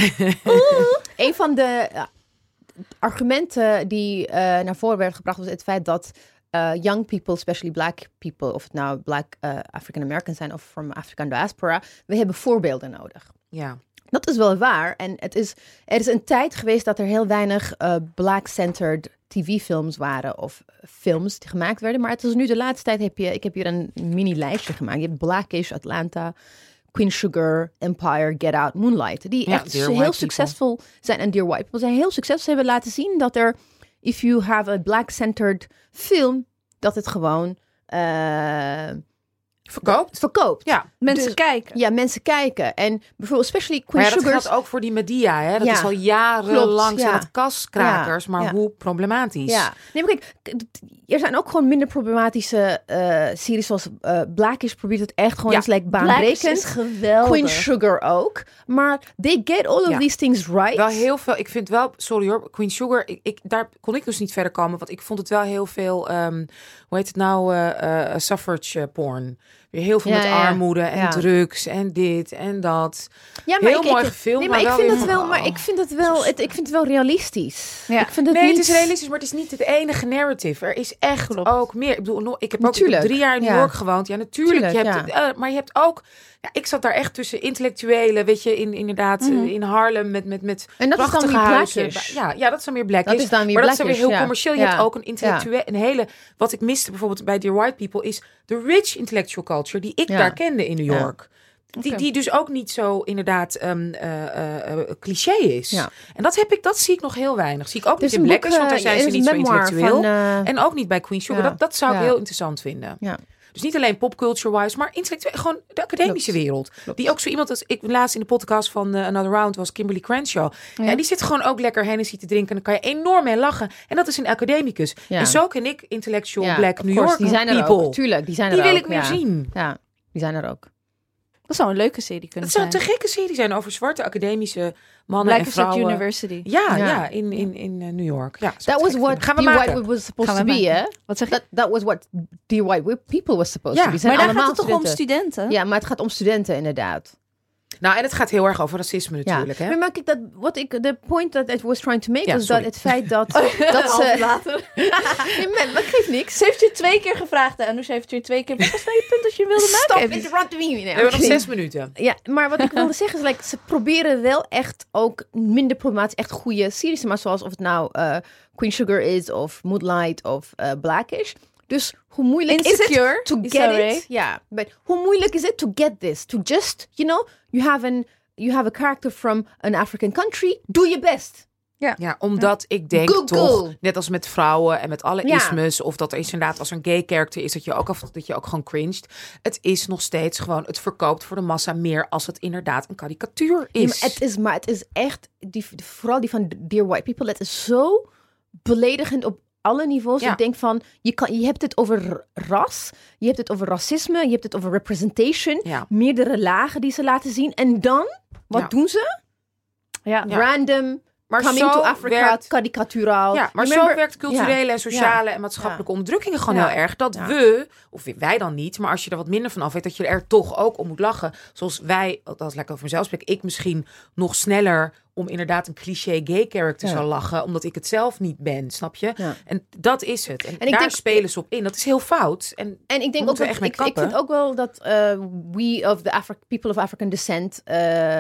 [SPEAKER 2] Een van de eh, argumenten die eh, naar voren werden gebracht was het feit dat eh, young people, especially black people, of het nou black eh, African Americans zijn of from African diaspora, we hebben voorbeelden nodig.
[SPEAKER 3] Ja.
[SPEAKER 2] Dat is wel waar. En het is, er is een tijd geweest dat er heel weinig eh, black-centered tv-films waren of films die gemaakt werden. Maar het is nu de laatste tijd heb je, ik heb hier een mini-lijstje gemaakt. Je hebt Blackish, Atlanta, Queen Sugar, Empire, Get Out, Moonlight. Die
[SPEAKER 3] Ja,
[SPEAKER 2] echt
[SPEAKER 3] Dear
[SPEAKER 2] heel
[SPEAKER 3] White
[SPEAKER 2] succesvol zijn. En Dear White People zijn heel succesvol. Ze hebben laten zien dat er, if you have a black-centered film, dat het gewoon eh,
[SPEAKER 3] Verkoopt.
[SPEAKER 2] verkoopt.
[SPEAKER 3] Ja.
[SPEAKER 1] Mensen
[SPEAKER 2] Dus-
[SPEAKER 1] kijken.
[SPEAKER 2] Ja, mensen kijken. En bijvoorbeeld, especially
[SPEAKER 3] Maar
[SPEAKER 2] Queen
[SPEAKER 3] ja, dat
[SPEAKER 2] Sugar.
[SPEAKER 3] geldt ook voor die media. Hè? Dat
[SPEAKER 2] Ja.
[SPEAKER 3] is al jarenlang
[SPEAKER 2] Klopt,
[SPEAKER 3] zijn
[SPEAKER 2] ja.
[SPEAKER 3] dat kaskrakers.
[SPEAKER 2] Ja,
[SPEAKER 3] Maar
[SPEAKER 2] ja.
[SPEAKER 3] hoe problematisch.
[SPEAKER 2] Ja, nee, maar kijk, k- d- er zijn ook gewoon minder problematische eh, series zoals eh Blackish probeert het echt gewoon
[SPEAKER 3] Ja,
[SPEAKER 2] eens like,
[SPEAKER 1] Blackish is
[SPEAKER 2] baanbrekend.
[SPEAKER 1] geweldig.
[SPEAKER 2] Queen Sugar ook. Maar they get all of
[SPEAKER 3] Ja.
[SPEAKER 2] these things right.
[SPEAKER 3] Wel heel veel. Ik vind wel, sorry hoor, Queen Sugar. Ik, ik- daar kon ik dus niet verder komen. Want ik vond het wel heel veel. ehm, hoe heet het nou? eh, eh, suffrage eh, porn. Weer heel veel
[SPEAKER 2] Ja,
[SPEAKER 3] met
[SPEAKER 2] ja, ja.
[SPEAKER 3] armoede en
[SPEAKER 2] Ja.
[SPEAKER 3] drugs en dit en dat.
[SPEAKER 2] ja,
[SPEAKER 3] heel mooi gefilmd,
[SPEAKER 2] nee,
[SPEAKER 3] maar
[SPEAKER 2] maar,
[SPEAKER 3] wel
[SPEAKER 2] ik vind
[SPEAKER 3] weer
[SPEAKER 2] het
[SPEAKER 3] van,
[SPEAKER 2] wel, maar
[SPEAKER 3] oh.
[SPEAKER 2] ik vind het wel, het, ik vind het wel realistisch.
[SPEAKER 1] Ja.
[SPEAKER 2] Ik vind het
[SPEAKER 3] nee,
[SPEAKER 2] niet...
[SPEAKER 3] het is realistisch, maar het is niet het enige narrative. Er is echt
[SPEAKER 1] Klopt.
[SPEAKER 3] ook meer. Ik bedoel, no- ik heb ook ik heb
[SPEAKER 2] Natuurlijk,
[SPEAKER 3] drie jaar in New
[SPEAKER 2] ja.
[SPEAKER 3] York gewoond. Ja, natuurlijk. je
[SPEAKER 2] Tuurlijk,
[SPEAKER 3] hebt, eh, maar je hebt ook. Ja, ik zat daar echt tussen intellectuelen, weet je, in, inderdaad eh, in Harlem met, met, met
[SPEAKER 2] Mhm. En dat is dan
[SPEAKER 3] prachtige
[SPEAKER 2] weer
[SPEAKER 3] huizen.
[SPEAKER 2] Blackish.
[SPEAKER 3] Ja, ja, dat is dan weer black.
[SPEAKER 2] Dat is dan weer
[SPEAKER 3] maar dat is dan weer
[SPEAKER 2] Blackish,
[SPEAKER 3] heel
[SPEAKER 2] ja.
[SPEAKER 3] commercieel. Je
[SPEAKER 2] Ja.
[SPEAKER 3] hebt ook een intellectueel, een hele. Wat ik miste bijvoorbeeld bij Dear White People is de rich intellectual culture die ik
[SPEAKER 2] Ja.
[SPEAKER 3] daar kende in New
[SPEAKER 2] Ja.
[SPEAKER 3] York. Die,
[SPEAKER 1] Oké.
[SPEAKER 3] die dus ook niet zo inderdaad ehm, eh, eh, eh, cliché is.
[SPEAKER 2] Ja.
[SPEAKER 3] En dat heb ik, dat zie ik nog heel weinig. Zie ik ook
[SPEAKER 2] Er is
[SPEAKER 3] niet
[SPEAKER 2] een
[SPEAKER 3] in
[SPEAKER 2] boek,
[SPEAKER 3] Black is, want daar
[SPEAKER 2] eh,
[SPEAKER 3] zijn
[SPEAKER 2] er
[SPEAKER 3] ze
[SPEAKER 2] is een
[SPEAKER 3] niet zo
[SPEAKER 2] memoir
[SPEAKER 3] intellectueel.
[SPEAKER 2] van, eh,
[SPEAKER 3] En ook niet bij Queen Sugar.
[SPEAKER 2] Ja,
[SPEAKER 3] Dat, dat zou ik
[SPEAKER 2] ja.
[SPEAKER 3] heel interessant vinden.
[SPEAKER 2] Ja.
[SPEAKER 3] Dus niet alleen popculture-wise, maar intellectueel. Gewoon de academische
[SPEAKER 2] Klopt.
[SPEAKER 3] wereld.
[SPEAKER 2] Klopt.
[SPEAKER 3] Die ook zo iemand als ik laatst in de podcast van eh, Another Round was Kimberly Crenshaw. Ja. die zit gewoon ook lekker Hennessy te drinken. En dan kan je enorm mee lachen. En dat is een academicus.
[SPEAKER 2] Ja.
[SPEAKER 3] En zo ken ik intellectual
[SPEAKER 2] Ja,
[SPEAKER 3] black
[SPEAKER 2] of
[SPEAKER 3] New
[SPEAKER 2] course,
[SPEAKER 3] York
[SPEAKER 2] die zijn er
[SPEAKER 3] people.
[SPEAKER 2] ook. Tuurlijk, die zijn
[SPEAKER 3] die
[SPEAKER 2] er
[SPEAKER 3] wil
[SPEAKER 2] ook.
[SPEAKER 3] ik meer
[SPEAKER 2] ja.
[SPEAKER 3] zien.
[SPEAKER 2] Ja, die zijn er ook.
[SPEAKER 1] Dat zou een leuke serie kunnen
[SPEAKER 3] Het zou een te
[SPEAKER 1] zijn.
[SPEAKER 3] gekke serie zijn over zwarte academische mannen
[SPEAKER 1] Black
[SPEAKER 3] en
[SPEAKER 1] is at
[SPEAKER 3] vrouwen.
[SPEAKER 1] University.
[SPEAKER 3] Ja, ja.
[SPEAKER 2] Ja.
[SPEAKER 3] in, in, in eh, New York. Ja, zou ik
[SPEAKER 2] That was
[SPEAKER 3] gek
[SPEAKER 2] what
[SPEAKER 3] vinden. Gaan we
[SPEAKER 2] Dear
[SPEAKER 3] maken.
[SPEAKER 2] White was supposed to
[SPEAKER 1] Gaan we
[SPEAKER 2] be, hè?
[SPEAKER 1] maken. Wat zeg je?
[SPEAKER 2] That, that was what Dear White People was supposed
[SPEAKER 3] Ja,
[SPEAKER 2] to be. Zijn
[SPEAKER 1] maar daar gaat
[SPEAKER 2] allemaal
[SPEAKER 1] het toch om
[SPEAKER 2] studenten.
[SPEAKER 1] studenten?
[SPEAKER 2] Ja, maar het gaat om studenten inderdaad.
[SPEAKER 3] Nou, en het gaat heel erg over racisme natuurlijk.
[SPEAKER 2] Ja.
[SPEAKER 3] Hè?
[SPEAKER 2] Maar maak ik dat, wat ik, de point that I was trying to make
[SPEAKER 3] Ja,
[SPEAKER 2] was
[SPEAKER 3] sorry.
[SPEAKER 2] dat het
[SPEAKER 1] [laughs]
[SPEAKER 2] feit dat, dat
[SPEAKER 1] Altijd
[SPEAKER 2] ze,
[SPEAKER 1] later.
[SPEAKER 2] nee, maar, maar geeft niks.
[SPEAKER 1] eh, [laughs] Ze heeft je twee keer gevraagd en Anoush heeft je twee keer. Wat was nou je punt dat je wilde
[SPEAKER 2] Stop
[SPEAKER 1] maken? Evie?
[SPEAKER 2] interrupting me. Nee,
[SPEAKER 3] We hebben nog
[SPEAKER 2] oké.
[SPEAKER 3] zes minuten.
[SPEAKER 2] Ja, maar wat ik wilde [laughs] zeggen is, like, ze proberen wel echt ook minder problematisch, echt goede series te maken. Zoals of het nou eh, Queen Sugar is, of Moonlight, of eh, Blackish. Dus hoe moeilijk
[SPEAKER 1] Insecure
[SPEAKER 2] is het to
[SPEAKER 1] is
[SPEAKER 2] get
[SPEAKER 1] er, hè?
[SPEAKER 2] it? Ja, but hoe moeilijk is it to get this? To just, you know, you have, an, you have a character from an African country. Doe je best.
[SPEAKER 3] Ja, omdat ik denk
[SPEAKER 2] Google.
[SPEAKER 3] toch, net als met vrouwen en met alle
[SPEAKER 2] Ja.
[SPEAKER 3] ismes, of dat er is inderdaad als er een gay character is, dat je ook af dat je ook gewoon cringed. Het is nog steeds gewoon, het verkoopt voor de massa meer als het inderdaad een karikatuur
[SPEAKER 2] Ja,
[SPEAKER 3] is.
[SPEAKER 2] maar het is. Maar het is echt, die, vooral die van Dear White People, het is zo beledigend op alle niveaus.
[SPEAKER 3] Ja.
[SPEAKER 2] Ik denk van, je, kan, je hebt het over r- ras, je hebt het over racisme, je hebt het over representation,
[SPEAKER 3] Ja.
[SPEAKER 2] meerdere lagen die ze laten zien. En dan, wat
[SPEAKER 3] Ja.
[SPEAKER 2] doen ze?
[SPEAKER 1] Ja.
[SPEAKER 2] Random,
[SPEAKER 3] Maar
[SPEAKER 2] coming
[SPEAKER 3] zo
[SPEAKER 2] to Africa,
[SPEAKER 3] werkt-
[SPEAKER 2] karikaturaal.
[SPEAKER 3] Ja, maar
[SPEAKER 2] Remember-
[SPEAKER 3] zo werkt culturele en sociale en maatschappelijke onderdrukkingen gewoon
[SPEAKER 2] Ja.
[SPEAKER 3] heel erg. Dat
[SPEAKER 2] Ja.
[SPEAKER 3] we, of wij dan niet, maar als je er wat minder van af weet, dat je er toch ook om moet lachen. Zoals wij, als ik over mezelf spreek, ik misschien nog sneller om inderdaad een cliché gay character
[SPEAKER 2] Ja.
[SPEAKER 3] zou lachen, omdat ik het zelf niet ben, snap je?
[SPEAKER 2] Ja.
[SPEAKER 3] En dat is het. En,
[SPEAKER 2] ik
[SPEAKER 3] daar
[SPEAKER 2] denk-
[SPEAKER 3] spelen ze op in. Dat is heel fout. En
[SPEAKER 2] En ik denk
[SPEAKER 3] moeten
[SPEAKER 2] ook
[SPEAKER 3] we
[SPEAKER 2] dat,
[SPEAKER 3] echt mee
[SPEAKER 2] ik, ik
[SPEAKER 3] kappen.
[SPEAKER 2] vind ook wel dat eh, we of the Afri- people of African descent eh,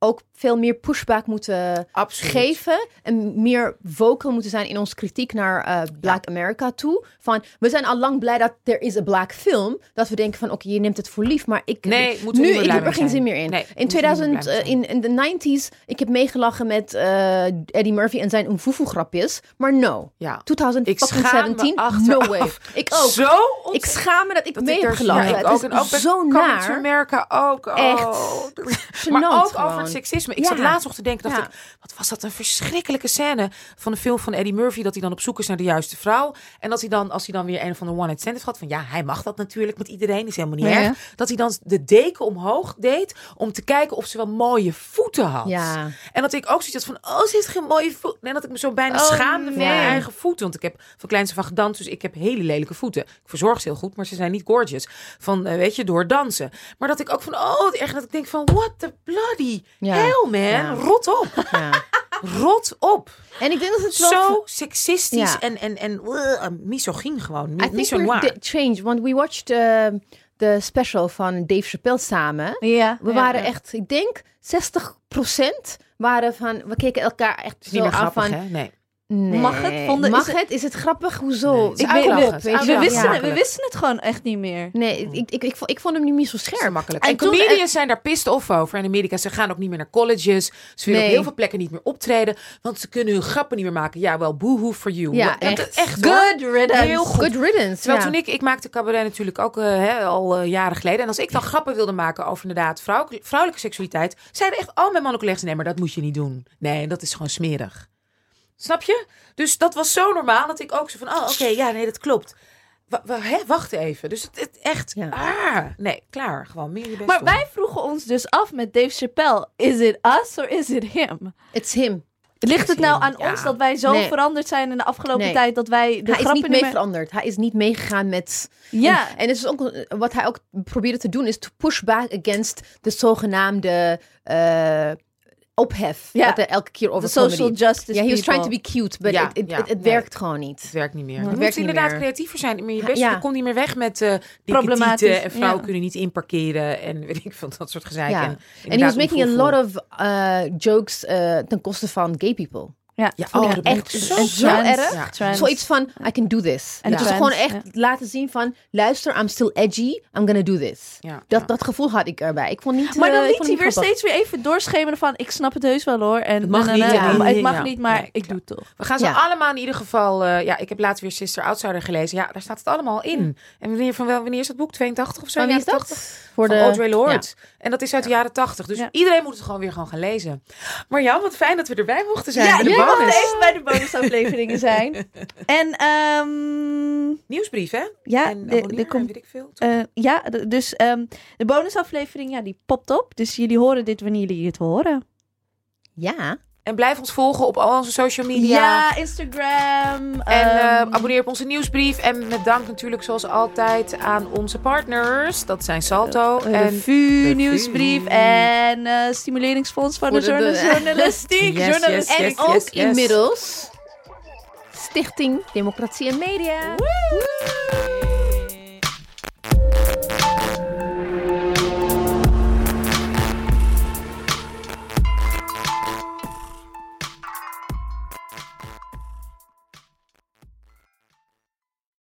[SPEAKER 2] ook veel meer pushback moeten
[SPEAKER 3] absoluut.
[SPEAKER 2] geven en meer vocal moeten zijn in ons kritiek naar eh, Black America toe. Van we zijn al lang blij dat er is een black film, dat we denken van oké, je neemt het voor lief, maar ik
[SPEAKER 3] Nee, moeten we
[SPEAKER 2] nu
[SPEAKER 3] niet meer
[SPEAKER 2] ik
[SPEAKER 3] blij
[SPEAKER 2] heb er
[SPEAKER 3] mee
[SPEAKER 2] geen
[SPEAKER 3] zijn.
[SPEAKER 2] zin meer in.
[SPEAKER 3] Nee,
[SPEAKER 2] in
[SPEAKER 3] moeten we niet meer
[SPEAKER 2] 2000
[SPEAKER 3] blij mee
[SPEAKER 2] eh, in, in de 90s, ik heb meegelachen met eh, Eddie Murphy en zijn Unfufu grapjes, maar no.
[SPEAKER 3] Ja. Ik schaam me
[SPEAKER 2] 2017, no
[SPEAKER 3] achteraf.
[SPEAKER 2] way. Ik ook.
[SPEAKER 3] Zo
[SPEAKER 2] Ik schaam me dat ik
[SPEAKER 3] dat
[SPEAKER 2] mee
[SPEAKER 3] ik
[SPEAKER 2] heb
[SPEAKER 3] er-
[SPEAKER 2] gelachen.
[SPEAKER 3] Ja, ik
[SPEAKER 2] het
[SPEAKER 3] ook.
[SPEAKER 2] is
[SPEAKER 3] en ook bij
[SPEAKER 2] zo
[SPEAKER 3] Coming to
[SPEAKER 2] naar.
[SPEAKER 3] America ook. Oh.
[SPEAKER 2] Echt.
[SPEAKER 3] Maar ook
[SPEAKER 2] Gênant
[SPEAKER 3] over het
[SPEAKER 2] gewoon.
[SPEAKER 3] seksisme. Ik
[SPEAKER 2] Ja.
[SPEAKER 3] zat laatst nog te denken, dacht
[SPEAKER 2] Ja.
[SPEAKER 3] ik, wat was dat een verschrikkelijke scène van de film van Eddie Murphy, dat hij dan op zoek is naar de juiste vrouw. En dat hij dan, als hij dan weer een van de one-night stands had, van ja, hij mag dat natuurlijk met iedereen, is helemaal niet
[SPEAKER 1] Ja,
[SPEAKER 3] erg.
[SPEAKER 1] ja.
[SPEAKER 3] Dat hij dan de deken omhoog deed om te kijken of ze wel mooie voeten had.
[SPEAKER 2] Ja.
[SPEAKER 3] En dat ik ook zoiets had van, oh, ze heeft geen mooie voeten. En dat ik me zo bijna
[SPEAKER 1] Oh,
[SPEAKER 3] schaamde voor
[SPEAKER 2] nee.
[SPEAKER 3] mijn eigen voeten. Want ik heb van kleins af aan gedanst, dus ik heb hele lelijke voeten. Ik verzorg ze heel goed, maar ze zijn niet gorgeous. Van, eh, weet je, door dansen. Maar dat ik ook van, oh, wat erg. En Dat ik denk van, what the bloody
[SPEAKER 2] Ja.
[SPEAKER 3] hell, man.
[SPEAKER 2] Ja.
[SPEAKER 3] Rot op. [laughs]
[SPEAKER 2] Ja.
[SPEAKER 3] Rot op.
[SPEAKER 2] En ik denk dat het wel...
[SPEAKER 3] Zo seksistisch
[SPEAKER 2] Ja.
[SPEAKER 3] en, en, en uh, misogyn gewoon. Mi-
[SPEAKER 2] I think we're
[SPEAKER 3] Misonoir.
[SPEAKER 2] di- changed, want we watched eh, de special van Dave Chappelle samen.
[SPEAKER 1] Ja.
[SPEAKER 2] We waren echt, ik denk, 60% waren van... We keken elkaar echt
[SPEAKER 3] Niet
[SPEAKER 2] zo
[SPEAKER 3] meer
[SPEAKER 2] aan
[SPEAKER 3] grappig,
[SPEAKER 2] van...
[SPEAKER 3] hè? Nee.
[SPEAKER 2] Nee.
[SPEAKER 1] Mag het? Vonden-
[SPEAKER 2] Mag
[SPEAKER 1] is het-
[SPEAKER 2] het? Is het grappig? Hoezo?
[SPEAKER 3] Nee,
[SPEAKER 2] Het is
[SPEAKER 1] Ik weet-
[SPEAKER 2] uitlachen,
[SPEAKER 1] we-
[SPEAKER 2] het is uitlachen.
[SPEAKER 1] we, wisten,
[SPEAKER 2] Ja.
[SPEAKER 1] we wisten het gewoon echt niet meer.
[SPEAKER 2] Nee, ik, ik, ik, vond- ik vond hem niet zo scherp.
[SPEAKER 3] makkelijk.
[SPEAKER 2] En
[SPEAKER 3] En,
[SPEAKER 2] toen- eh,
[SPEAKER 3] comedians zijn daar pissed off over in Amerika. Ze gaan ook niet meer naar colleges. Ze willen
[SPEAKER 2] Nee.
[SPEAKER 3] op heel veel plekken niet meer optreden. Want ze kunnen hun grappen niet meer maken. Ja, wel, boohoo for you.
[SPEAKER 2] Ja,
[SPEAKER 3] Want dat-
[SPEAKER 2] echt.
[SPEAKER 3] echt hoor.
[SPEAKER 1] Good riddance.
[SPEAKER 3] Heel goed.
[SPEAKER 2] Good riddance.
[SPEAKER 3] Terwijl
[SPEAKER 2] ja.
[SPEAKER 3] toen ik, ik maakte cabaret natuurlijk ook eh, hè, al eh, jaren geleden. En als ik dan grappen wilde maken over inderdaad vrouwelijke, vrouwelijke seksualiteit, zeiden echt al mijn mannen collega's, nee, maar dat moet je niet doen. Nee, dat is gewoon smerig. Snap je? Dus dat was zo normaal dat ik ook zo van, oh oké, ja, nee, dat klopt. Wa- wa- hè, wacht even. Dus het, het echt,
[SPEAKER 2] Ja.
[SPEAKER 3] ah, nee, klaar. Gewoon meer je best
[SPEAKER 1] Maar
[SPEAKER 3] doen.
[SPEAKER 1] wij vroegen ons dus af met Dave Chappelle: is it us or is it him?
[SPEAKER 2] It's him.
[SPEAKER 1] Ligt het nou
[SPEAKER 3] him,
[SPEAKER 1] aan
[SPEAKER 3] ja.
[SPEAKER 1] ons dat wij zo
[SPEAKER 2] Nee.
[SPEAKER 1] veranderd zijn in de afgelopen
[SPEAKER 2] Nee.
[SPEAKER 1] tijd dat wij de
[SPEAKER 2] hij is
[SPEAKER 1] grappen
[SPEAKER 2] niet mee
[SPEAKER 1] meer-
[SPEAKER 2] veranderd. Hij is niet meegegaan met...
[SPEAKER 1] Ja.
[SPEAKER 2] En, en het is ook, eh, wat hij ook probeerde te doen... is to push back against de zogenaamde eh, ophef.
[SPEAKER 1] Ja.
[SPEAKER 2] Dat er elke keer over
[SPEAKER 1] De social
[SPEAKER 2] comedy.
[SPEAKER 1] justice.
[SPEAKER 2] Ja, he was
[SPEAKER 1] people.
[SPEAKER 2] trying to be cute, but
[SPEAKER 3] Ja,
[SPEAKER 2] it, it,
[SPEAKER 3] ja,
[SPEAKER 2] it- it
[SPEAKER 3] nee.
[SPEAKER 2] werkt gewoon niet.
[SPEAKER 3] Het werkt niet meer.
[SPEAKER 2] Het
[SPEAKER 3] Je moet
[SPEAKER 2] werkt niet
[SPEAKER 3] inderdaad
[SPEAKER 2] meer.
[SPEAKER 3] creatiever zijn. Maar je best,
[SPEAKER 2] Ja.
[SPEAKER 3] je komt niet meer weg met eh dikke
[SPEAKER 1] Problematisch,
[SPEAKER 3] tieten en vrouwen
[SPEAKER 1] ja.
[SPEAKER 3] kunnen niet inparkeren en weet ik veel, dat soort gezeik.
[SPEAKER 2] Ja.
[SPEAKER 3] En
[SPEAKER 2] And En he
[SPEAKER 3] inderdaad
[SPEAKER 2] was making a
[SPEAKER 3] onvoelvoel.
[SPEAKER 2] lot of eh, jokes eh, ten koste van gay people.
[SPEAKER 1] Ja.
[SPEAKER 3] Ja,
[SPEAKER 2] Vond
[SPEAKER 3] oh,
[SPEAKER 2] ik
[SPEAKER 3] dat
[SPEAKER 2] echt
[SPEAKER 3] moet
[SPEAKER 2] zo,
[SPEAKER 3] zo
[SPEAKER 2] zo
[SPEAKER 1] trans,
[SPEAKER 2] erg.
[SPEAKER 1] ja,
[SPEAKER 3] Zoiets
[SPEAKER 1] trans.
[SPEAKER 2] Zoiets van, I can do this.
[SPEAKER 1] En
[SPEAKER 2] het was
[SPEAKER 1] trends,
[SPEAKER 2] gewoon echt
[SPEAKER 1] ja.
[SPEAKER 2] laten zien van, luister, I'm still edgy, I'm gonna do this.
[SPEAKER 3] Ja,
[SPEAKER 2] Dat,
[SPEAKER 3] ja.
[SPEAKER 2] dat gevoel had ik erbij. Ik vond niet...
[SPEAKER 1] Maar
[SPEAKER 2] eh,
[SPEAKER 1] dan
[SPEAKER 2] ik
[SPEAKER 1] liet
[SPEAKER 2] vond
[SPEAKER 1] hij
[SPEAKER 2] het
[SPEAKER 1] weer
[SPEAKER 2] niet grappig.
[SPEAKER 1] steeds weer even doorschemeren van... ik snap het heus wel hoor. En
[SPEAKER 3] Het mag
[SPEAKER 1] na, na,
[SPEAKER 3] niet,
[SPEAKER 1] na,
[SPEAKER 3] ja.
[SPEAKER 1] maar
[SPEAKER 3] Nee,
[SPEAKER 1] Het mag
[SPEAKER 3] ja.
[SPEAKER 1] niet, maar
[SPEAKER 3] Nee,
[SPEAKER 1] ik
[SPEAKER 3] klopt.
[SPEAKER 1] doe het toch.
[SPEAKER 3] We gaan ze
[SPEAKER 2] Ja.
[SPEAKER 3] allemaal in ieder geval. eh, ja, ik heb laatst weer Sister Outsider gelezen. Ja, daar staat het allemaal in. En wanneer, van wel, wanneer is dat boek? 82 of zo?
[SPEAKER 2] Maar Hm. wie is
[SPEAKER 3] 80?
[SPEAKER 2] dat? Voor
[SPEAKER 3] Van
[SPEAKER 2] de...
[SPEAKER 3] Audre Lorde. En dat is uit de jaren 80. Dus
[SPEAKER 1] Ja.
[SPEAKER 3] iedereen moet het gewoon weer gewoon gaan lezen. Maar Jan, wat fijn dat we erbij mochten zijn. bij de
[SPEAKER 1] jij mag
[SPEAKER 3] bonus.
[SPEAKER 1] even bij de bonusafleveringen
[SPEAKER 3] [laughs]
[SPEAKER 1] zijn. En ehm,
[SPEAKER 3] Nieuwsbrief, hè?
[SPEAKER 1] ja,
[SPEAKER 3] en
[SPEAKER 1] de,
[SPEAKER 3] abonneer
[SPEAKER 1] de,
[SPEAKER 3] en
[SPEAKER 1] com-
[SPEAKER 3] weet ik veel. toch?
[SPEAKER 1] eh, ja, de- dus ehm, de bonusaflevering ja, die popt op. Dus jullie horen dit wanneer jullie het horen.
[SPEAKER 2] Ja.
[SPEAKER 3] En blijf ons volgen op al onze social media.
[SPEAKER 1] Ja, Instagram.
[SPEAKER 3] En eh,
[SPEAKER 1] ehm,
[SPEAKER 3] abonneer op onze nieuwsbrief. En met dank natuurlijk zoals altijd aan onze partners. Dat zijn Salto
[SPEAKER 1] eh,
[SPEAKER 3] en
[SPEAKER 1] revue, nieuwsbrief en eh, stimuleringsfonds van de,
[SPEAKER 2] Voor de-
[SPEAKER 1] journa-
[SPEAKER 2] de-
[SPEAKER 1] journalistiek.
[SPEAKER 3] Yes,
[SPEAKER 1] journalistiek.
[SPEAKER 3] yes,
[SPEAKER 2] En
[SPEAKER 3] yes,
[SPEAKER 2] ook
[SPEAKER 3] yes.
[SPEAKER 2] inmiddels Stichting Democratie en Media.
[SPEAKER 1] Woe!